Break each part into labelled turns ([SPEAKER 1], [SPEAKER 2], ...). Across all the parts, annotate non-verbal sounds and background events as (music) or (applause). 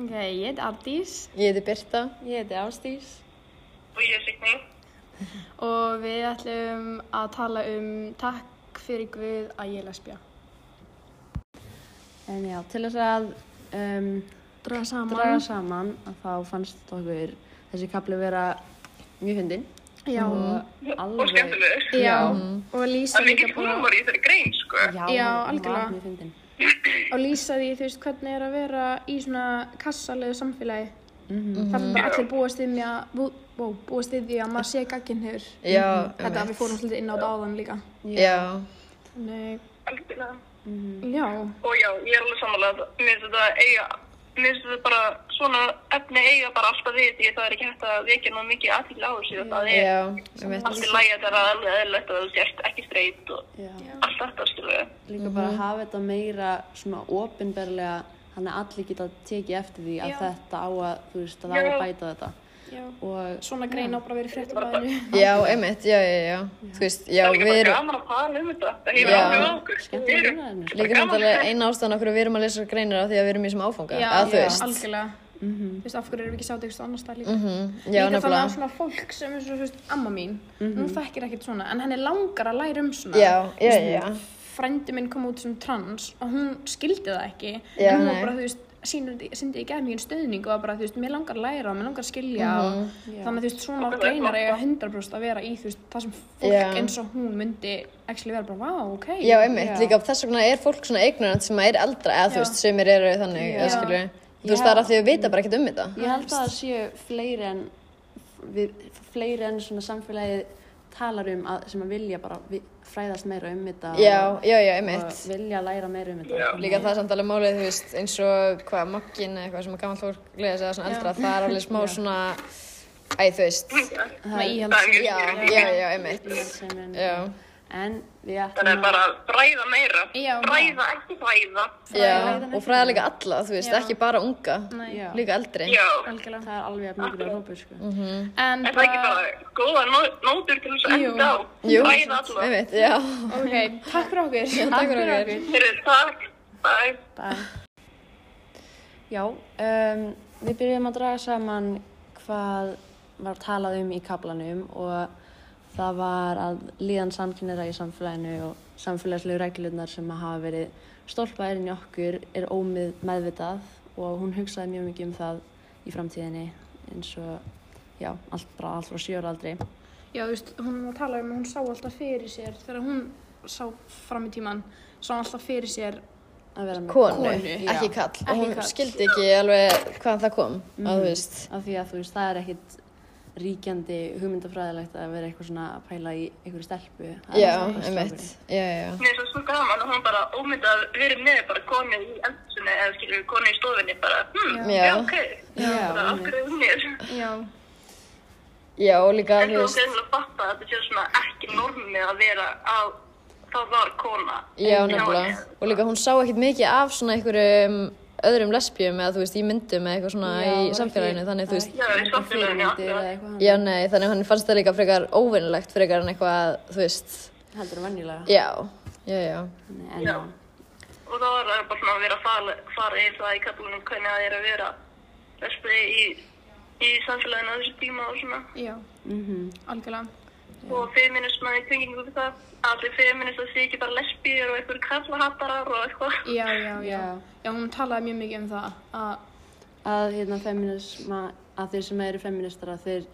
[SPEAKER 1] Ok, ég heiti Aldís.
[SPEAKER 2] Ég heiti Birta.
[SPEAKER 3] Ég heiti Ástís.
[SPEAKER 4] Og ég er Signý.
[SPEAKER 1] og við ætlum að tala um takk fyrir Guð að ég er lesbja.
[SPEAKER 3] En já, til þess að um,
[SPEAKER 1] Draga saman.
[SPEAKER 3] draga saman að þá fannst okkur þessi kapli vera mjög hundin.
[SPEAKER 1] Já.
[SPEAKER 3] Mm. Og
[SPEAKER 4] Og
[SPEAKER 3] alveg...
[SPEAKER 4] skemmtilegur.
[SPEAKER 1] Mm. Já.
[SPEAKER 3] Já.
[SPEAKER 1] Og Lísa
[SPEAKER 4] Það er mikill húmor í þeirri grein, sko.
[SPEAKER 3] Já,
[SPEAKER 1] Já,
[SPEAKER 3] hún var
[SPEAKER 1] algjörlega.
[SPEAKER 3] Mjög hundin.
[SPEAKER 1] og lýsa því, þú veist, hvernig er að vera í svona kassalegu samfélagi. Þar sem bara allir búast við mér að, bú, bú, búast við því að maður sé gagginhur.
[SPEAKER 2] Já,
[SPEAKER 1] Þetta að við fórum svolítið inn á þetta áðan líka.
[SPEAKER 2] Já,
[SPEAKER 1] Þannig,
[SPEAKER 4] Algjörlega.
[SPEAKER 1] Mm. já,
[SPEAKER 4] Og já, ég er alveg samanlega að mér finnst þetta eiga, mér finnst þetta bara svona efni eiga bara alltaf við því að það er ekki hægt að vekja ná mikið aðtíkla á þessu það er
[SPEAKER 2] já, um eitt.
[SPEAKER 4] allt í lægi að það er alveg eðlilegt að þú sért ekki streyt og
[SPEAKER 3] Já. Mhm.
[SPEAKER 4] allt þetta skilur við.
[SPEAKER 3] Líka bara að hafa þetta meira svona opinberlega þannig að allir geta tekið eftir því að
[SPEAKER 1] Já.
[SPEAKER 3] þetta á að, þú veist, að það á að
[SPEAKER 4] Já.
[SPEAKER 3] bæta þetta.
[SPEAKER 1] já.
[SPEAKER 3] Og
[SPEAKER 1] Svona grein á bara verið fréttablaðinu.
[SPEAKER 2] Já, um eitt, já, já, já. Þú veist, já,
[SPEAKER 4] Það er líka
[SPEAKER 2] við
[SPEAKER 4] bara
[SPEAKER 2] erum...
[SPEAKER 4] gaman að tala um þetta, það hefur
[SPEAKER 2] Já.
[SPEAKER 4] áhrif á okkur, sko. við
[SPEAKER 3] skemmtilega
[SPEAKER 4] erum
[SPEAKER 3] umræðinu. sko.
[SPEAKER 2] Líka samt
[SPEAKER 4] um
[SPEAKER 2] alveg eina ástæðan okkur við erum að lesa þessar greinir af því að við erum í þessum áfanga.
[SPEAKER 1] Já,
[SPEAKER 2] að, þú
[SPEAKER 1] já,
[SPEAKER 2] veist. Mhm.
[SPEAKER 1] algjörlega. Þú veist, af hverju erum við ekki sátt eitthvað annars það líka.
[SPEAKER 2] Já,
[SPEAKER 1] líka þannig að
[SPEAKER 2] nefnilega. Mhm.
[SPEAKER 1] svona fólk sem er svo, þú veist, amma mín, hún þekkir ekkert svona, en henni langar að læra um svona.
[SPEAKER 2] Já, já, já.
[SPEAKER 1] Frændi minn kom út sem trans og hún skildi það ekki,
[SPEAKER 2] Já,
[SPEAKER 1] en hún
[SPEAKER 2] nei.
[SPEAKER 1] var bara, þú veist, síndi, síndi í gæð mikið stöðning og var bara, þú veist, mér langar að læra og mér langar að skilja og
[SPEAKER 2] Mhm.
[SPEAKER 1] þannig að þú veist, svona
[SPEAKER 4] Og það er
[SPEAKER 1] greinar
[SPEAKER 4] flott,
[SPEAKER 1] eiga 100% að vera í, þú veist, það sem fólk
[SPEAKER 2] Já.
[SPEAKER 1] eins og hún myndi actually vera bara, vá, ok.
[SPEAKER 2] Já, einmitt, líka þess vegna er fólk svona ignorant sem er eldra, eða þú
[SPEAKER 1] Já.
[SPEAKER 2] veist, sumir eru þannig,
[SPEAKER 1] Já.
[SPEAKER 2] eða skilur Þú veist, það er að því að við vita bara ekkert um þetta.
[SPEAKER 3] Ég held að það séu fleiri en við, fleiri en svona samfélagið talar um að, sem að vilja bara vi- fræðast meira um þetta
[SPEAKER 2] Já, já, já,
[SPEAKER 3] og
[SPEAKER 2] einmitt.
[SPEAKER 3] vilja læra meira um þetta
[SPEAKER 4] Já.
[SPEAKER 2] Líka það er samt alveg málið, þú veist, eins og hvað, mokkin eða eitthvað sem að gaman fólk leðis eða svona eldra, það er alveg smá svona, æ, þú veist,
[SPEAKER 1] Svona íhald.
[SPEAKER 4] það er mjög
[SPEAKER 2] já,
[SPEAKER 4] skilur
[SPEAKER 2] já, já, einmitt.
[SPEAKER 3] sem en,
[SPEAKER 2] Já,
[SPEAKER 3] en við
[SPEAKER 4] Þannig
[SPEAKER 3] ætlum
[SPEAKER 4] að bara að fræða meira,
[SPEAKER 1] Já.
[SPEAKER 4] fræða, ekki fræða,
[SPEAKER 2] já, og fræða líka alla, þú veist, ekki bara unga,
[SPEAKER 3] Já.
[SPEAKER 2] hérna. líka Mm. eldri.
[SPEAKER 4] já.
[SPEAKER 1] Algjörlega.
[SPEAKER 3] það er alveg jafn mikilvæg hópur sko.
[SPEAKER 1] En
[SPEAKER 4] Er það ekki bara góða nó- nótur til þess að
[SPEAKER 1] Jú.
[SPEAKER 4] enda á?
[SPEAKER 2] Jú,
[SPEAKER 4] Fræða alla.
[SPEAKER 2] einmitt, já,
[SPEAKER 1] ok, takk fyrir okkur.
[SPEAKER 2] (laughs) takk fyrir okkur.
[SPEAKER 4] Fyrir takk, bæ.
[SPEAKER 3] Já, um, við byrjum að draga saman hvað var talað um í kablanum og það var að líðan samkynniðra í samfélaginu og samfélagslegu reglurnar sem að hafa verið stólpaðir inn í okkur er ómið meðvitað og hún hugsaði mjög mikið um það í framtíðinni eins og já, allt bara allt frá sjóraldri.
[SPEAKER 1] Já, þú veist, hún var að tala um að hún sá alltaf fyrir sér þegar hún sá fram í tíman sá hún alltaf fyrir sér
[SPEAKER 3] Að vera með
[SPEAKER 2] Konu,
[SPEAKER 3] já.
[SPEAKER 2] ekki kall, Mm. og hún
[SPEAKER 1] kall.
[SPEAKER 2] skildi ekki alveg hvaðan það kom, að þú veist.
[SPEAKER 3] af því að þú veist, það er ekkit ríkjandi hugmyndafræðilegt að vera eitthvað svona að pæla í einhverju stelpu Það er
[SPEAKER 2] Já,
[SPEAKER 3] alltaf bara
[SPEAKER 2] einmitt,
[SPEAKER 3] strákurinn.
[SPEAKER 2] já, já, já.
[SPEAKER 4] Mér finnst það svo gaman að hún bara ómyndað verið með bara konu í eldsunni eða skilur konu í stofinni bara, hm,
[SPEAKER 2] Já.
[SPEAKER 4] já, ok,
[SPEAKER 3] Já,
[SPEAKER 4] bara af hverju hún er.
[SPEAKER 1] Já,
[SPEAKER 2] Já, og líka,
[SPEAKER 4] En
[SPEAKER 2] þú
[SPEAKER 4] þú
[SPEAKER 2] veist,
[SPEAKER 4] finnst að fatta að þetta sé svona ekki normið að vera að það var kona.
[SPEAKER 2] já,
[SPEAKER 4] Já,
[SPEAKER 2] nefnilega.
[SPEAKER 4] já.
[SPEAKER 2] Og líka, hún sá ekkert mikið af svona einhverjum öðrum lesbjum eða, þú veist, í myndum eða eitthvað svona
[SPEAKER 3] Já, var
[SPEAKER 2] í
[SPEAKER 3] ekki-
[SPEAKER 2] samfélaginu, þannig, þú veist,
[SPEAKER 4] Já, í
[SPEAKER 3] Margar
[SPEAKER 4] samfélaginu,
[SPEAKER 3] fyrirmyndir
[SPEAKER 4] já.
[SPEAKER 3] eða eitthvað
[SPEAKER 2] já, nei, þannig að hann fannst það líka frekar óvinnilegt frekar en eitthvað, þú veist,
[SPEAKER 3] hann heldur en venjulega.
[SPEAKER 2] já, já, já,
[SPEAKER 3] Þannig, En
[SPEAKER 4] Já.
[SPEAKER 3] já.
[SPEAKER 4] Og það var bara svona að vera að fara, fara yfir það í kaplunum hvernig það er að vera vestu í, í samfélaginu á þessu tíma og svona.
[SPEAKER 1] já,
[SPEAKER 3] Mhm.
[SPEAKER 1] algjörlega
[SPEAKER 4] Og feminisma í tengingu við það. Allir feminist að sé ekki bara lesbíur og einhverjum kallahattarar og eitthvað.
[SPEAKER 1] Já, já, já
[SPEAKER 3] Já.
[SPEAKER 1] Já, hún talaði mjög mikið um það að
[SPEAKER 3] Að hérna feminisma, að þeir sem eru feministar að þeir,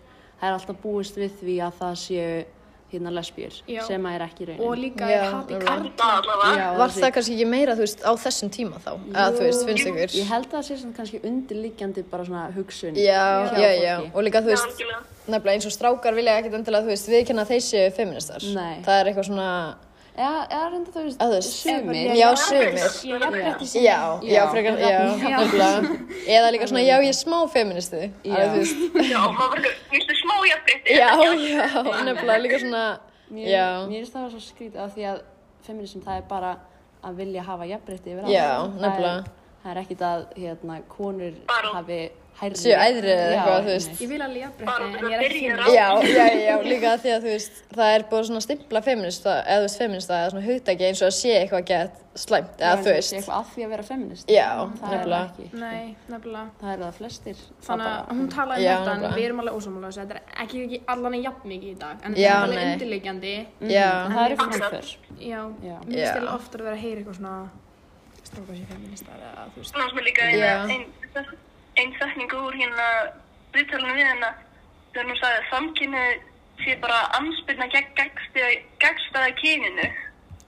[SPEAKER 3] það er alltaf búist við því að það séu hérna lesbíur
[SPEAKER 1] Já.
[SPEAKER 3] sem að er ekki raunin.
[SPEAKER 1] og líka
[SPEAKER 2] Já,
[SPEAKER 1] er hati
[SPEAKER 2] alveg.
[SPEAKER 1] karl
[SPEAKER 4] Það allavega.
[SPEAKER 3] Já,
[SPEAKER 2] Var
[SPEAKER 3] því-
[SPEAKER 2] það kannski ekki meira, þú veist, á þessum tíma þá, eða, þú veist, finnst ykkur?
[SPEAKER 3] Ég held að það sé svona kannski undirliggjandi bara svona hugsun.
[SPEAKER 2] Já,
[SPEAKER 3] hjá
[SPEAKER 2] já, já,
[SPEAKER 3] fólki.
[SPEAKER 2] og líka, þú
[SPEAKER 4] Já,
[SPEAKER 2] veist,
[SPEAKER 4] algjörlega.
[SPEAKER 2] nefnilega eins og strákar vilja ekkert endilega, þú veist, viðkynna þeir séu feministar.
[SPEAKER 3] Nei.
[SPEAKER 2] Það er eitthvað svona,
[SPEAKER 3] Já, já, reynda þú veist,
[SPEAKER 2] að þú veist,
[SPEAKER 3] sumir.
[SPEAKER 2] já, sumir.
[SPEAKER 1] Ég er jafnrétti sér
[SPEAKER 2] Já, já, frekar, já, (laughs) nefnilega. Eða líka svona, já, ég er smá feministi.
[SPEAKER 3] Já.
[SPEAKER 2] Alveg, þú
[SPEAKER 3] (laughs)
[SPEAKER 2] veist,
[SPEAKER 4] Já, maður verður, viltu smá jafnrétti?
[SPEAKER 2] já, já, nefnilega líka svona,
[SPEAKER 3] Mér,
[SPEAKER 2] já,
[SPEAKER 3] mér finnst það var svo skrítið af því að feminism það er bara að vilja hafa jafnbreytti yfir
[SPEAKER 2] Já,
[SPEAKER 3] alla. Það er-
[SPEAKER 2] nefnilega.
[SPEAKER 3] Það það er ekkit að hérna, konur
[SPEAKER 4] Bara-
[SPEAKER 3] hafi hærri
[SPEAKER 2] Séu æðri eða
[SPEAKER 3] Já,
[SPEAKER 2] eitthvað, þú veist.
[SPEAKER 1] Ég vil alveg jafnbrekti,
[SPEAKER 4] Bara
[SPEAKER 1] en ég
[SPEAKER 4] þetta
[SPEAKER 1] er ekki fyrir
[SPEAKER 4] byrjar á.
[SPEAKER 2] Já, já, já, líka því að þú veist, það er búin svona stimpla feminista, eða þú veist, feminista, eða svona hugtæki eins og að sé eitthvað gett slæmt,
[SPEAKER 3] Já,
[SPEAKER 2] eða þú
[SPEAKER 3] það sé
[SPEAKER 2] veist.
[SPEAKER 3] eitthvað að því að vera feminist
[SPEAKER 2] Já,
[SPEAKER 3] það er
[SPEAKER 2] nefnilega.
[SPEAKER 3] það ekki
[SPEAKER 1] Nei, nefnilega.
[SPEAKER 3] það er það flestir Það
[SPEAKER 1] Þannig
[SPEAKER 3] bara- Mhm.
[SPEAKER 1] að hún talaði
[SPEAKER 2] Já,
[SPEAKER 1] um þetta, en
[SPEAKER 2] nefnilega.
[SPEAKER 1] við erum alveg ósámála þessu. Þetta er ekki, ekki allan en jafn mikið í dag, en
[SPEAKER 2] Já,
[SPEAKER 1] þetta er alveg
[SPEAKER 2] nei.
[SPEAKER 1] undirleikjandi.
[SPEAKER 2] Já,
[SPEAKER 3] En Mhm, það eru framför
[SPEAKER 1] Já,
[SPEAKER 3] Já.
[SPEAKER 1] mér finnst
[SPEAKER 2] Já.
[SPEAKER 1] eða ofta að vera að heyra eitthvað svona stróka sér feministar eða þú veist.
[SPEAKER 4] Svona sem er líka
[SPEAKER 2] Já.
[SPEAKER 4] eina, ein, ein setning úr hérna viðtalinu við hérna þegar hún sagði að samkynni sé bara anspyrna gegn gagnstæða- gagnstæða kyninu.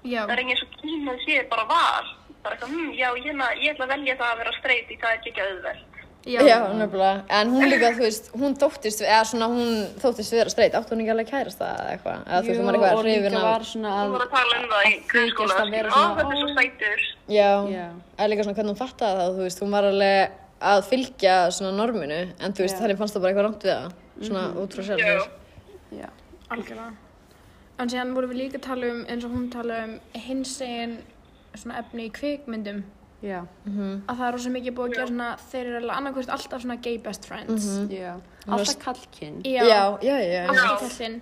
[SPEAKER 1] Já,
[SPEAKER 4] Það er engin svo kynu sé bara val. Bara eitthvað, hm, já, hérna, ég ætla að velja það að vera streyt í það er ekki ekki auðveld.
[SPEAKER 1] já,
[SPEAKER 2] Já, nefnilega, en hún líka, þú veist, hún þóttist, eða svona hún þóttist vera streyt, átti hún ekki alveg kærasta eða eitthvað, eða þú veist,
[SPEAKER 3] Jú,
[SPEAKER 2] hún var eitthvað
[SPEAKER 3] og
[SPEAKER 2] hrifin
[SPEAKER 3] líka
[SPEAKER 2] af,
[SPEAKER 3] var svona
[SPEAKER 4] Þú
[SPEAKER 3] að
[SPEAKER 4] voru að tala um það í
[SPEAKER 3] að
[SPEAKER 4] grunnskóla.
[SPEAKER 3] þykjast að vera
[SPEAKER 4] skilur, Á,
[SPEAKER 3] svona,
[SPEAKER 4] þetta er
[SPEAKER 3] ó.
[SPEAKER 4] svo sætur.
[SPEAKER 2] já,
[SPEAKER 3] Já.
[SPEAKER 2] eða líka svona hvernig hún fattaði það, þú veist, hún var alveg að fylgja svona norminu, en þú veist,
[SPEAKER 3] Já. Mhm.
[SPEAKER 2] henni fannst það bara eitthvað rámt við það, svona út frá sjálf,
[SPEAKER 4] Já.
[SPEAKER 2] þú veist.
[SPEAKER 3] já,
[SPEAKER 1] algjörlega. En síðan vorum við líka að tala um, eins og hún tala um, hinsegin svona efni í kvikmyndum.
[SPEAKER 3] já,
[SPEAKER 1] Að það er rosa mikið búið að gera svona, þeir eru alveg annarkvæmst alltaf svona gay best friends.
[SPEAKER 3] já Mhm. alltaf kallkinn
[SPEAKER 1] Já,
[SPEAKER 2] Já, já, já, já.
[SPEAKER 1] alltaf kallinn.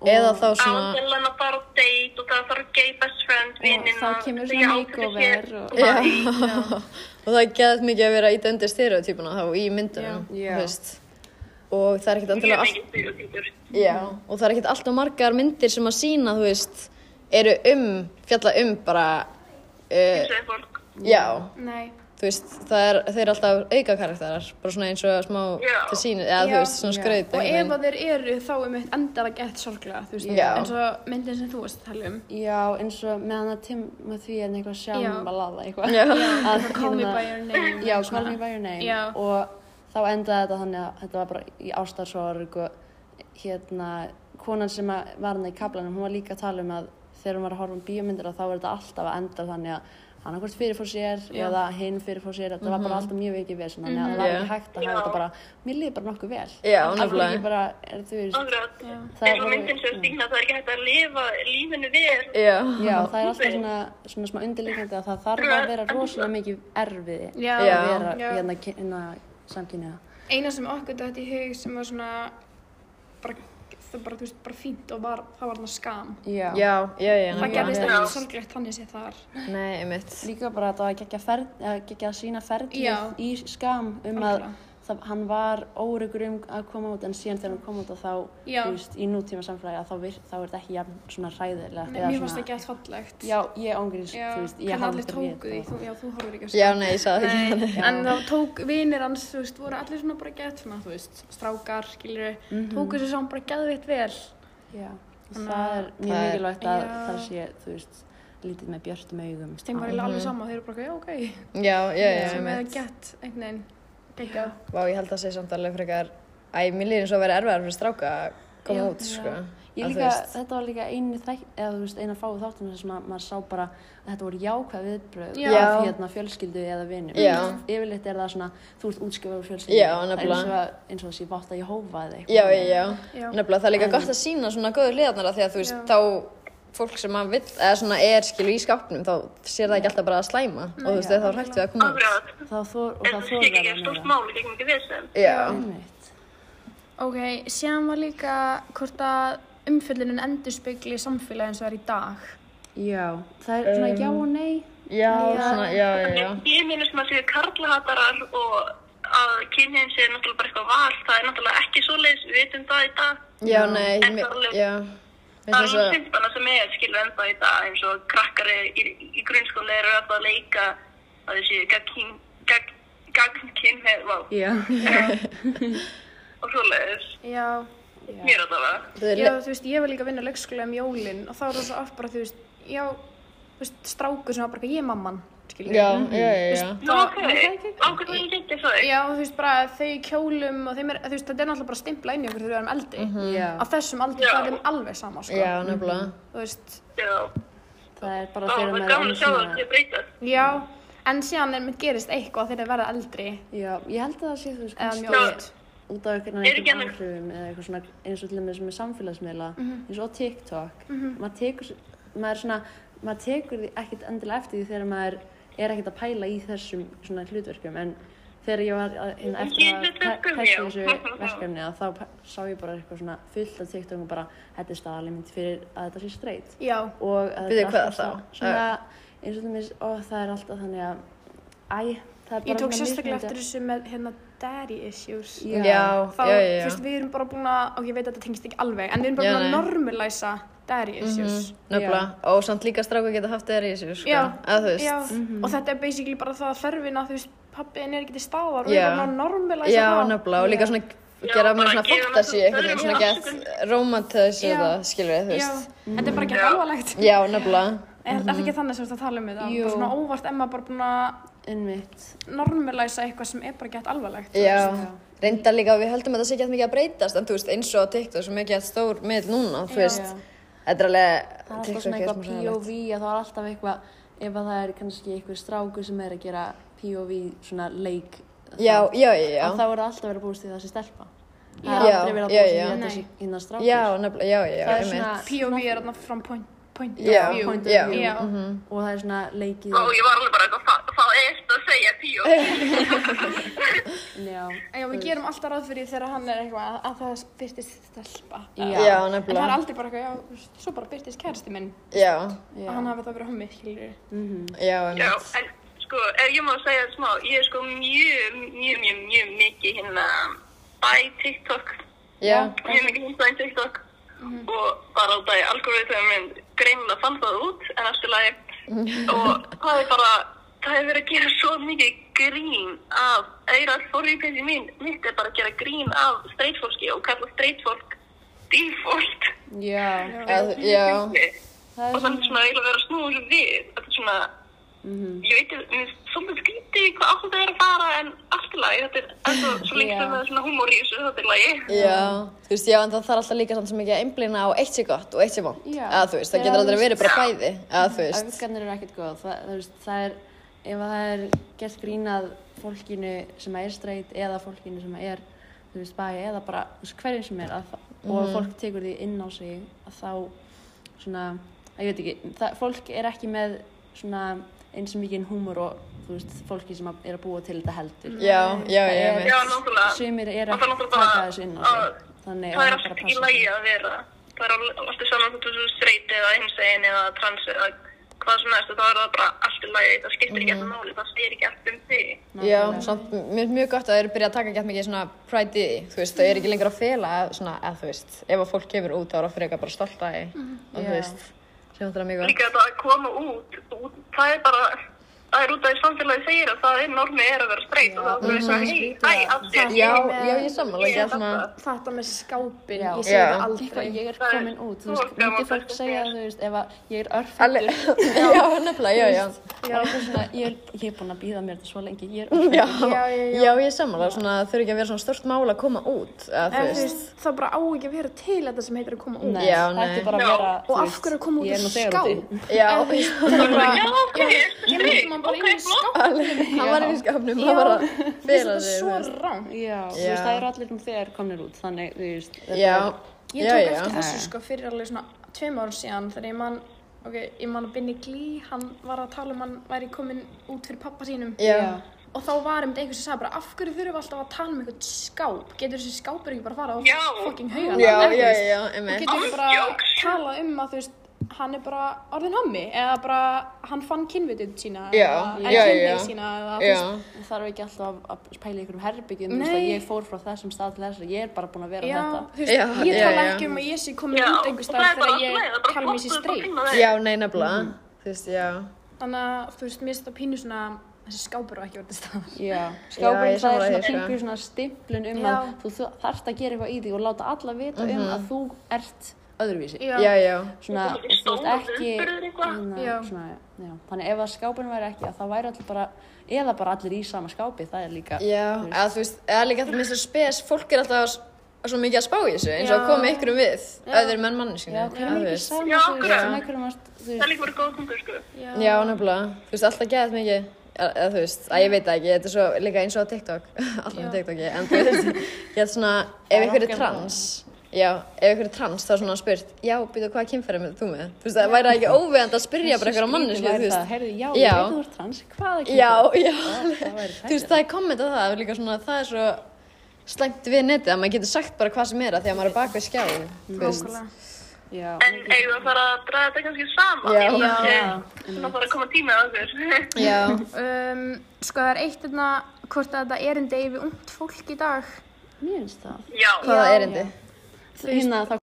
[SPEAKER 2] eða þá svona,
[SPEAKER 4] Ándilan að fara á date og það þarf gay best friend, vinninn.
[SPEAKER 3] þá kemur svona makeover og-
[SPEAKER 2] Já. (laughs) og það er gæðið mikið að vera ít undir stereotypuna þá í myndunum,
[SPEAKER 3] Já.
[SPEAKER 2] þú veist. Og það er ekkert
[SPEAKER 4] Mjög
[SPEAKER 2] endilega allt,
[SPEAKER 4] mikið styrjótypur.
[SPEAKER 2] já, og það er ekkert alltaf margar myndir sem að sína, þú veist, eru um, fjalla um bara, uh,
[SPEAKER 4] Þessi fólk.
[SPEAKER 2] já,
[SPEAKER 1] Nei,
[SPEAKER 2] þú veist, það er, þeir eru alltaf auka karakterar, bara svona eins og smá
[SPEAKER 4] Já.
[SPEAKER 2] til sínu, eða
[SPEAKER 1] Já.
[SPEAKER 2] þú veist, svona skraut.
[SPEAKER 1] og
[SPEAKER 2] einhvern
[SPEAKER 1] ef að þeir eru þá er mitt endað að gett sorglega, þú veist,
[SPEAKER 2] Já.
[SPEAKER 1] eins og myndin sem þú varst að tala um.
[SPEAKER 3] Já, eins og meðan að Timothy er eitthvað sjámalala eitthvað.
[SPEAKER 2] Já.
[SPEAKER 3] Að
[SPEAKER 1] Eitthvað Call me
[SPEAKER 3] hérna-
[SPEAKER 1] by your name.
[SPEAKER 3] Já,
[SPEAKER 1] eitthvað
[SPEAKER 3] Call Me
[SPEAKER 1] svona.
[SPEAKER 3] By Your Name.
[SPEAKER 1] Já.
[SPEAKER 3] Og þá endaði þetta þannig að þetta var bara í ástarsorg og hérna, konan sem að var hann í kaplanum, hún var líka að tala um að þegar hún var að horfa um bíómyndir að þá var þetta alltaf að enda þannig að hann okkur fyrir fór sér eða hinn fyrir fór sér, þetta var
[SPEAKER 1] Mhm.
[SPEAKER 3] bara alltaf mjög vikið vesen, þannig að það var ekki
[SPEAKER 2] Já.
[SPEAKER 3] hægt að hafa þetta bara, mér liði bara nokkuð vel.
[SPEAKER 2] Já,
[SPEAKER 3] Af hverju ekki
[SPEAKER 2] nefnilega.
[SPEAKER 3] bara, er, þú veist,
[SPEAKER 4] Akkurat.
[SPEAKER 3] Það
[SPEAKER 4] eins og
[SPEAKER 3] voru-
[SPEAKER 4] myndin sem stíkna það er ekki hægt að lifa lífinu vel
[SPEAKER 2] Já.
[SPEAKER 3] Já, það er alltaf svona, svona smá undirleikandi að það þarf að vera rosalega mikið erfiði
[SPEAKER 1] Já.
[SPEAKER 3] að vera
[SPEAKER 1] Já.
[SPEAKER 3] hérna, kyn- hérna samkynniða.
[SPEAKER 1] eina sem okkur dætt í hug sem var svona bara, það bara, þú veist, bara fínt og var, það var þarna skam
[SPEAKER 3] Já.
[SPEAKER 2] Já, já, já,
[SPEAKER 1] það
[SPEAKER 2] nefnilega.
[SPEAKER 1] gerðist
[SPEAKER 4] Já.
[SPEAKER 1] ekki sorglegt þannig sé þar
[SPEAKER 2] Nei, einmitt.
[SPEAKER 3] Líka bara að það var geggja, ferð, eða geggja að
[SPEAKER 1] Já.
[SPEAKER 3] sína ferlið í skam um að
[SPEAKER 1] Algjörlega.
[SPEAKER 3] það, hann var óryggur um að koma út en síðan þegar hann kom út að þá,
[SPEAKER 1] Já.
[SPEAKER 3] þú veist, í nútíma samfélagi að þá, vir, þá er þetta ekki jafn svona hræðilegt.
[SPEAKER 1] Nei,
[SPEAKER 3] eða
[SPEAKER 1] mér fannst
[SPEAKER 3] svona-
[SPEAKER 1] það gett fallegt
[SPEAKER 3] Já, ég ángrið,
[SPEAKER 1] Já,
[SPEAKER 3] þú veist, ég
[SPEAKER 1] hvernig
[SPEAKER 3] hafði
[SPEAKER 1] allir tóku því
[SPEAKER 3] það.
[SPEAKER 1] þú, já, þú horfur ekki að
[SPEAKER 2] Já, nei, ég sagði það ekki.
[SPEAKER 1] Nei, en þá tók vinir hans, þú veist, voru allir svona bara gett svona, þú veist, strákar, skilur tóku sér svona bara geðvitt vel
[SPEAKER 3] Mhm. Já, það er mjög
[SPEAKER 2] Það er-
[SPEAKER 3] mikilvægt að
[SPEAKER 1] Já.
[SPEAKER 3] það sé, þú veist, lítið með björtum augum.
[SPEAKER 1] þeim var eiginlega alveg sama, þeir eru bara, já, ok
[SPEAKER 2] Já, já, já,
[SPEAKER 1] sem er
[SPEAKER 2] einmitt.
[SPEAKER 1] gett, einhvern veginn geggjað.
[SPEAKER 2] Vá, ég held að segja samt alveg frekar Æ, mér líður eins og að vera erfiðar fyrir stráka að koma út, sko
[SPEAKER 3] Ég
[SPEAKER 2] Að þú
[SPEAKER 3] líka,
[SPEAKER 2] veist-
[SPEAKER 3] þetta var líka einu þætt, eða þú veist, eina fáið þáttum sem að maður sá bara að þetta voru jákvæð viðbröð
[SPEAKER 1] Já.
[SPEAKER 3] af hérna fjölskyldu eða vinum.
[SPEAKER 2] Já.
[SPEAKER 3] Yfirleitt er það svona, þú ert útskjöfur úr fjölskyldu.
[SPEAKER 2] Já,
[SPEAKER 3] Það er
[SPEAKER 2] nefnilega.
[SPEAKER 3] Eins og, að- eins og þessi bátt að ég hófa eða eitthvað.
[SPEAKER 2] Já, já, já,
[SPEAKER 1] Já.
[SPEAKER 2] nefnilega það er líka gott að sína svona góðu liðarnar af því að þú veist, þá fólk sem að vill, eða svona er skilu í skápnum þá sér það ekki alltaf bara að slæma og þú veist, þau þá er hægt við að koma út
[SPEAKER 4] Akkurat.
[SPEAKER 3] Þá þor, og
[SPEAKER 4] en
[SPEAKER 3] það
[SPEAKER 4] það sé
[SPEAKER 3] þor
[SPEAKER 4] ekki ekki stórt máli gegn mikið vesen
[SPEAKER 2] Já,
[SPEAKER 3] Einmitt.
[SPEAKER 1] Ok, síðan var líka hvort að umfyllunin endurspegli samfélagi eins og það er í dag.
[SPEAKER 3] Já, það er svona já
[SPEAKER 2] Um,
[SPEAKER 3] og nei.
[SPEAKER 2] já, svona, já, já, já
[SPEAKER 4] ég minnur sem að séu karlahatarar og að kynniðin séu náttúrulega bara eitthvað val það er náttúrulega ekki svoleiðis, við vitum það í dag
[SPEAKER 2] Já, nei,
[SPEAKER 4] En
[SPEAKER 2] mér-
[SPEAKER 4] það er alveg-
[SPEAKER 2] já Mér
[SPEAKER 4] það er
[SPEAKER 2] finnst
[SPEAKER 4] alveg
[SPEAKER 2] það,
[SPEAKER 4] fimmtana sem er skilur ennþá í dag eins og krakkar í, í, í grunnskóla eru alltaf að leika að þau séu gagn gagn, gagn kynneið wow.
[SPEAKER 3] Já.
[SPEAKER 4] og svoleiðis,
[SPEAKER 1] Já,
[SPEAKER 4] mér allavega
[SPEAKER 2] þau er
[SPEAKER 1] já,
[SPEAKER 2] li-
[SPEAKER 1] þú veist, ég var líka að vinna á leikskóla um jólinn og þá er það svo oft bara, þú veist, já, þú veist, strákur sem var bara, eitthvað, ég er mamman, skiljið.
[SPEAKER 2] Já, já, já, já
[SPEAKER 4] Nú, ok, ákveð mér ekki það
[SPEAKER 1] Já, þú veist, bara þau í kjólum og þeim er, þú veist, þetta er náttúrulega bara stimpla inn í okkur þegar við erum eldi.
[SPEAKER 3] Já.
[SPEAKER 1] Á þessum aldrei,
[SPEAKER 4] Já.
[SPEAKER 1] það er þeim alveg sama, sko.
[SPEAKER 2] Mhm. Já, nefnilega
[SPEAKER 1] Þú veist,
[SPEAKER 4] Já.
[SPEAKER 3] Það er bara
[SPEAKER 4] Það
[SPEAKER 3] þegar
[SPEAKER 4] var
[SPEAKER 3] maður
[SPEAKER 4] gaman
[SPEAKER 3] enn
[SPEAKER 4] að sjá það
[SPEAKER 3] svona-
[SPEAKER 4] til að breyta.
[SPEAKER 1] já, en síðan er mitt gerist eitthvað þegar þeir verða eldri
[SPEAKER 3] Já, ég held að það sé, þú veist,
[SPEAKER 1] eða um
[SPEAKER 3] kannski-
[SPEAKER 1] mjög oft.
[SPEAKER 3] út af einhvern
[SPEAKER 4] Er ekki hérna-
[SPEAKER 3] veginn
[SPEAKER 4] annað-
[SPEAKER 3] áhrifum eða eitthvað svona eins og til dæmis með samfélagsmiðla
[SPEAKER 4] Mhm.
[SPEAKER 3] eins og á TikTok maður tekur maður er svona maður tekur því ekkert endilega eftir því þegar maður er ekkert að pæla í þessum svona hlutverkum en þegar ég var að, hérna,
[SPEAKER 4] Í
[SPEAKER 3] eftir að
[SPEAKER 4] hlutverkum,
[SPEAKER 3] pæla í
[SPEAKER 4] já.
[SPEAKER 3] þessu verkefni að þá pæ- sá ég bara eitthvað svona fullt af TikTok og bara þetta er staðalimit fyrir að þetta sé straight
[SPEAKER 1] Já.
[SPEAKER 3] og að
[SPEAKER 2] Bíddu,
[SPEAKER 3] þetta
[SPEAKER 2] hvað
[SPEAKER 3] er alltaf
[SPEAKER 2] þá?
[SPEAKER 3] svo- svona eins og það mér, ó það er alltaf þannig að æ, það er bara
[SPEAKER 1] Ég tók
[SPEAKER 3] svona
[SPEAKER 1] sérstaklega
[SPEAKER 3] mismunandi-
[SPEAKER 1] eftir þessu með hérna daddy issues.
[SPEAKER 3] Já.
[SPEAKER 2] Já, já,
[SPEAKER 1] Þá,
[SPEAKER 2] já,
[SPEAKER 1] þú
[SPEAKER 2] já.
[SPEAKER 1] veist, við erum bara búin að, ok, ég veit að þetta tengist ekki alveg, en við erum bara
[SPEAKER 2] Já,
[SPEAKER 1] búin að
[SPEAKER 2] nei. Mhm.
[SPEAKER 1] normalæsa daddy issues.
[SPEAKER 2] Nöfla, og samt líka stráka geta haft þeirra í þessu, sko.
[SPEAKER 1] Já,
[SPEAKER 2] Að þú veist.
[SPEAKER 1] já. og þetta er basically bara það að þörfin að þú veist, pappiðin er ekki til staðar og við
[SPEAKER 2] Já.
[SPEAKER 1] erum bara að normalæsa
[SPEAKER 2] Já,
[SPEAKER 1] það.
[SPEAKER 2] nöfla, og líka svona gera
[SPEAKER 4] bara
[SPEAKER 2] mér svona
[SPEAKER 4] gefa mér
[SPEAKER 2] fantasy,
[SPEAKER 4] svona
[SPEAKER 2] einhvern veginn svona
[SPEAKER 4] þörfina.
[SPEAKER 2] gett romantisir
[SPEAKER 1] Já.
[SPEAKER 2] það, skilur við, þú
[SPEAKER 1] Já,
[SPEAKER 2] veist.
[SPEAKER 1] þetta er bara ekki
[SPEAKER 4] Já.
[SPEAKER 1] alvarlegt.
[SPEAKER 2] Já, Mhm. nöfla.
[SPEAKER 1] Er er það ekki þannig sem þú ert að tala um þetta?
[SPEAKER 3] Jú.
[SPEAKER 1] Bara svona óvart emma bara búin að
[SPEAKER 3] Einmitt.
[SPEAKER 1] normalæsa eitthvað sem er bara gett alvarlegt. þú
[SPEAKER 2] Já.
[SPEAKER 1] veist.
[SPEAKER 2] Reyndar líka, við höldum að það sé ekki að mikið að breytast, en þú veist, eins og á TikTok sem er gett stór mitt núna, þú veist. Þetta er alveg,
[SPEAKER 3] það er alltaf
[SPEAKER 2] TikTok
[SPEAKER 3] svona
[SPEAKER 2] er smá
[SPEAKER 3] eitthvað
[SPEAKER 2] sæðilegt.
[SPEAKER 3] POV að það er alltaf eitthvað ef að það er kannski eitthvað stráku sem er að gera POV svona leik
[SPEAKER 2] Já, já, já, já.
[SPEAKER 3] að þá er það alltaf verið að búast í það sem stelpa það
[SPEAKER 2] Já.
[SPEAKER 3] er aldrei verið að
[SPEAKER 2] Já,
[SPEAKER 3] búast í
[SPEAKER 2] já.
[SPEAKER 3] þetta
[SPEAKER 1] Nei.
[SPEAKER 3] sem hinn að stráku
[SPEAKER 2] Já, nefnilega, já, já,
[SPEAKER 3] það er
[SPEAKER 2] einmitt.
[SPEAKER 3] svona
[SPEAKER 1] POV er þarna from point, point
[SPEAKER 2] Já, Mhm.
[SPEAKER 1] of view.
[SPEAKER 2] point of
[SPEAKER 1] já.
[SPEAKER 2] view,
[SPEAKER 1] Já.
[SPEAKER 3] og það er svona leikið
[SPEAKER 4] Og ég var alveg bara eitthvað, "Þa- það er þetta að segja píó.
[SPEAKER 3] já,
[SPEAKER 1] En já, við gerum alltaf ráð fyrir þegar hann er eitthvað að- að það byrtist stelpa.
[SPEAKER 3] já,
[SPEAKER 2] Já,
[SPEAKER 1] En það er
[SPEAKER 2] nefnilega.
[SPEAKER 1] aldrei bara eitthvað, já, þú veist, svo bara byrtist kæristi minn.
[SPEAKER 2] Já,
[SPEAKER 3] já.
[SPEAKER 1] Að hann hafi það verið hommi, skilur
[SPEAKER 2] já,
[SPEAKER 4] Já,
[SPEAKER 2] einmitt.
[SPEAKER 4] en sko, ef ég má segja þetta smá, ég er sko mjög, mjög, mjög, mjög mikið hérna bæ TikTok,
[SPEAKER 2] Já,
[SPEAKER 4] mjög mikið hérna bæ TikTok og bara á dag algoritmum minn greinilega fann það út en allt í lagi og það er bara, það hefur verið að gera svo mikið grín af, eða forrýpinsi mín, mitt er bara að gera grín af streitfólki og kalla streitfólk default.
[SPEAKER 3] já,
[SPEAKER 2] að, já.
[SPEAKER 3] það
[SPEAKER 4] og
[SPEAKER 3] er
[SPEAKER 4] þannig svona eiginlega verið að snúa þessu við þetta er svona ég veit, mér finnst svolítið skrítið hvað átt það er að fara en allt í lagi, þetta er ennþá svo lengi sem það er svona húmór í þessu, þetta er lagi
[SPEAKER 2] Já, þú veist, já, en það þarf alltaf líka samt sem ekki að einblýna á eitt sé gott og eitt sé vond.
[SPEAKER 3] Já.
[SPEAKER 2] Að þú veist, það
[SPEAKER 3] Þeir
[SPEAKER 2] getur aldrei
[SPEAKER 3] alveg-
[SPEAKER 2] verið bara bæði, að þú veist.
[SPEAKER 3] öfgarnir eru ekkert góð það, það, veist, það er, ef að það er gert grínað fólkinu sem er streit eða fólkinu sem er þú veist, bæ eða bara þú veist, hverjum sem er að,
[SPEAKER 2] Mhm.
[SPEAKER 3] og fólk tekur því inn á sig að þá svona, að ég veit ekki það, fólk er ekki með svona eins og mikið húmor og þú veist, fólki sem að- er að búa til þetta heldur
[SPEAKER 2] Já, já,
[SPEAKER 3] Það
[SPEAKER 2] já,
[SPEAKER 3] er-
[SPEAKER 2] einmitt.
[SPEAKER 4] já, náttúrulega
[SPEAKER 3] sumir eru
[SPEAKER 4] Og það
[SPEAKER 3] að
[SPEAKER 4] er
[SPEAKER 3] taka
[SPEAKER 4] náttúrulega bara-
[SPEAKER 3] þessu inn á
[SPEAKER 4] að-
[SPEAKER 3] sig þannig
[SPEAKER 4] það er
[SPEAKER 3] maður bara
[SPEAKER 4] allt í
[SPEAKER 3] passa
[SPEAKER 4] lagi
[SPEAKER 3] sig.
[SPEAKER 4] að vera það er al- allt í saman þetta svo streit eða einsegin eða trans eða hvað sem næst, þá er það bara allt í lagi það skiptir ekki alltaf máli, það segir ekki allt um þig
[SPEAKER 2] Já, samt, mér finnst mjög gott að það eru byrjað að taka gett mikið svona pride í því, þú veist, það er ekki lengur að fela að, svona, að þú veist, ef að fólk kemur út þá er það fyrir eitthvað bara stolt að því, og þú
[SPEAKER 3] Já.
[SPEAKER 2] veist, sem þetta er mjög gott.
[SPEAKER 4] líka þetta að koma út, út það er bara það er út af því samfélagi segir að það er normið er að vera streit og það er svona hei, hæ, af þér
[SPEAKER 2] Já, já, ég er sammála ekki
[SPEAKER 4] Ég
[SPEAKER 2] að svona,
[SPEAKER 1] Þetta með skápin,
[SPEAKER 3] Já.
[SPEAKER 1] ég sé
[SPEAKER 2] Já.
[SPEAKER 1] það
[SPEAKER 3] eitthvað,
[SPEAKER 1] aldrei.
[SPEAKER 3] ég er
[SPEAKER 4] Það er
[SPEAKER 3] komin út, þú
[SPEAKER 4] svo
[SPEAKER 3] veist,
[SPEAKER 4] gaman
[SPEAKER 3] myndi fólk
[SPEAKER 4] fólk
[SPEAKER 3] segja,
[SPEAKER 4] er.
[SPEAKER 3] þú veist, ef að ég er
[SPEAKER 2] alveg,
[SPEAKER 3] örfættur,
[SPEAKER 2] (laughs) já, nefnilega, já, já.
[SPEAKER 3] bara eitthvað svona, ég er, ég er búin að býða mér þetta svo lengi, ég
[SPEAKER 2] (laughs)
[SPEAKER 3] er örfættur.
[SPEAKER 2] Já,
[SPEAKER 1] Já, já, já.
[SPEAKER 2] já, ég er sammála, svona, þurfi ekki að vera svona stort mál að koma út, að
[SPEAKER 1] En
[SPEAKER 2] þú
[SPEAKER 1] þú
[SPEAKER 2] veist.
[SPEAKER 1] veist, það bara á ekki að vera til þetta sem heitir að koma út.
[SPEAKER 3] Nei,
[SPEAKER 2] Já,
[SPEAKER 3] það
[SPEAKER 2] nei.
[SPEAKER 3] ætti bara að vera,
[SPEAKER 1] Og af hverju að koma út
[SPEAKER 3] ég er
[SPEAKER 1] úr
[SPEAKER 3] nú þegar
[SPEAKER 1] skáp?
[SPEAKER 3] úti.
[SPEAKER 2] Já,
[SPEAKER 1] Eða þú veist,
[SPEAKER 2] (laughs)
[SPEAKER 1] þetta er bara,
[SPEAKER 4] Já, ok,
[SPEAKER 1] ég myndi maður bara inn í skáp.
[SPEAKER 2] hann var í skapnum, hann var að fela
[SPEAKER 1] Þetta er
[SPEAKER 2] sig, þú
[SPEAKER 1] svo
[SPEAKER 2] veist.
[SPEAKER 1] rám.
[SPEAKER 3] Já, þú
[SPEAKER 2] Já.
[SPEAKER 3] veist, það eru allir nú þegar komnir út, þannig, þú veist, þetta
[SPEAKER 2] Já,
[SPEAKER 1] Ég
[SPEAKER 2] já,
[SPEAKER 1] tók
[SPEAKER 2] já.
[SPEAKER 1] eftir þessu sko fyrir alveg svona tveim árum síðan þegar ég man, ok, ég man að Binni Glee, hann var að tala um hann væri komin út fyrir pappa sínum.
[SPEAKER 2] Já.
[SPEAKER 1] Og þá var einmitt einhvers sem sagði bara, af hverju þurfum við alltaf að tala um einhvern skáp? Getur þessi skápur ekki bara að fara á
[SPEAKER 4] Já.
[SPEAKER 1] fucking haugan?
[SPEAKER 2] Já, já, já, einmitt.
[SPEAKER 1] Getur við bara
[SPEAKER 4] Ándjóks.
[SPEAKER 1] tala um að þú veist, hann er bara orðin hommi eða bara hann fann kynvitið sína
[SPEAKER 2] Já,
[SPEAKER 1] eða
[SPEAKER 2] já,
[SPEAKER 1] kynvitið
[SPEAKER 2] já.
[SPEAKER 1] sína eða þú
[SPEAKER 2] Já,
[SPEAKER 1] veist,
[SPEAKER 3] er- þarf ekki alltaf að pæla ykkur um herbyggjum, þú veist,
[SPEAKER 1] Nei.
[SPEAKER 3] að ég fór frá þessum stað til þessar, ég er bara búin að vera
[SPEAKER 1] já,
[SPEAKER 3] þetta.
[SPEAKER 1] þú veist,
[SPEAKER 2] Já,
[SPEAKER 1] ég
[SPEAKER 2] já,
[SPEAKER 1] tala
[SPEAKER 2] já.
[SPEAKER 1] ekki um að ég sé komin
[SPEAKER 4] Já,
[SPEAKER 1] út einhvers
[SPEAKER 4] og það
[SPEAKER 1] staðar
[SPEAKER 4] er bara
[SPEAKER 1] þegar
[SPEAKER 4] allt í
[SPEAKER 1] ég
[SPEAKER 4] lagi, það er bara
[SPEAKER 1] tala um mér sér
[SPEAKER 4] flottur,
[SPEAKER 1] streik
[SPEAKER 4] bara fín að
[SPEAKER 2] já, nei, nefnilega, þú veist, já.
[SPEAKER 1] þannig að þú veist, mér finnst það pínu svona þessi skápur og ekki verið staðar
[SPEAKER 3] Já,
[SPEAKER 2] Já, ég
[SPEAKER 3] skápurinn það
[SPEAKER 2] sammála
[SPEAKER 3] er svona
[SPEAKER 2] því, sko.
[SPEAKER 3] pingur svona stimplun um
[SPEAKER 1] Já.
[SPEAKER 3] að þú þú þarft að gera eitthvað í því og láta alla vita
[SPEAKER 2] Mhm.
[SPEAKER 3] um að þú ert öðruvísi.
[SPEAKER 2] Já, já,
[SPEAKER 3] svona, og
[SPEAKER 4] Þetta er ekki
[SPEAKER 3] þú veist
[SPEAKER 4] stór
[SPEAKER 3] ekki
[SPEAKER 4] viðburður eitthvað.
[SPEAKER 3] hérna,
[SPEAKER 1] Já.
[SPEAKER 3] svona, já. þannig ef að skápin væri ekki að þá væri allir bara eða bara allir í sama skápi, það er líka
[SPEAKER 2] já, eða þú veist, eða líka það minnst að spes, fólk er alltaf s- svo mikið að spá í þessu, eins og að
[SPEAKER 1] Já.
[SPEAKER 2] koma ykkur um við, öðrum menn manneskinu,
[SPEAKER 3] já, hver er
[SPEAKER 2] þú
[SPEAKER 3] mikið
[SPEAKER 2] veist.
[SPEAKER 3] saman
[SPEAKER 4] Já,
[SPEAKER 3] þú veist,
[SPEAKER 4] akkurat.
[SPEAKER 3] með hverjum varst þú
[SPEAKER 4] það er
[SPEAKER 3] veist,
[SPEAKER 4] líka verið góð tungur sko
[SPEAKER 2] Já, nefnilega, þú veist, alltaf geðað mikið, eða eða þú veist, að ég veit það ekki, þetta er svo (laughs) líka eins og á TikTok, alltaf með TikToki, en þú veist, ég er svona, ef ykkur er trans, já, ef ykkur er trans þá er svona spurt, já, býtu hvað kynfæri með þú með? Þú veist, það væri ekki óvegand að spyrja bara ykkur á manneslu, þú veist.
[SPEAKER 3] Herðu, já,
[SPEAKER 2] Já.
[SPEAKER 3] ég veit þú ert trans, hvað er
[SPEAKER 2] Já, já.
[SPEAKER 3] það væri
[SPEAKER 2] Þú veist, það er komment á það, líka svona, það er svo slæmt við netið að maður getur sagt bara hvað sem er að því að maður er bak við skjáin, þú veist.
[SPEAKER 1] Nákvæmlega.
[SPEAKER 3] Já,
[SPEAKER 4] En eigum við að fara að draga þetta kannski saman?
[SPEAKER 2] Já.
[SPEAKER 4] Ég-
[SPEAKER 1] Já.
[SPEAKER 4] Svona bara að koma tíma á okkur.
[SPEAKER 2] Já,
[SPEAKER 1] Um, sko það er eitt hérna hvort að þetta erindi yfir ungt fólk í dag.
[SPEAKER 3] mér finnst það.
[SPEAKER 4] (laughs) Já.
[SPEAKER 2] hvaða erindi?
[SPEAKER 3] Hérna, þá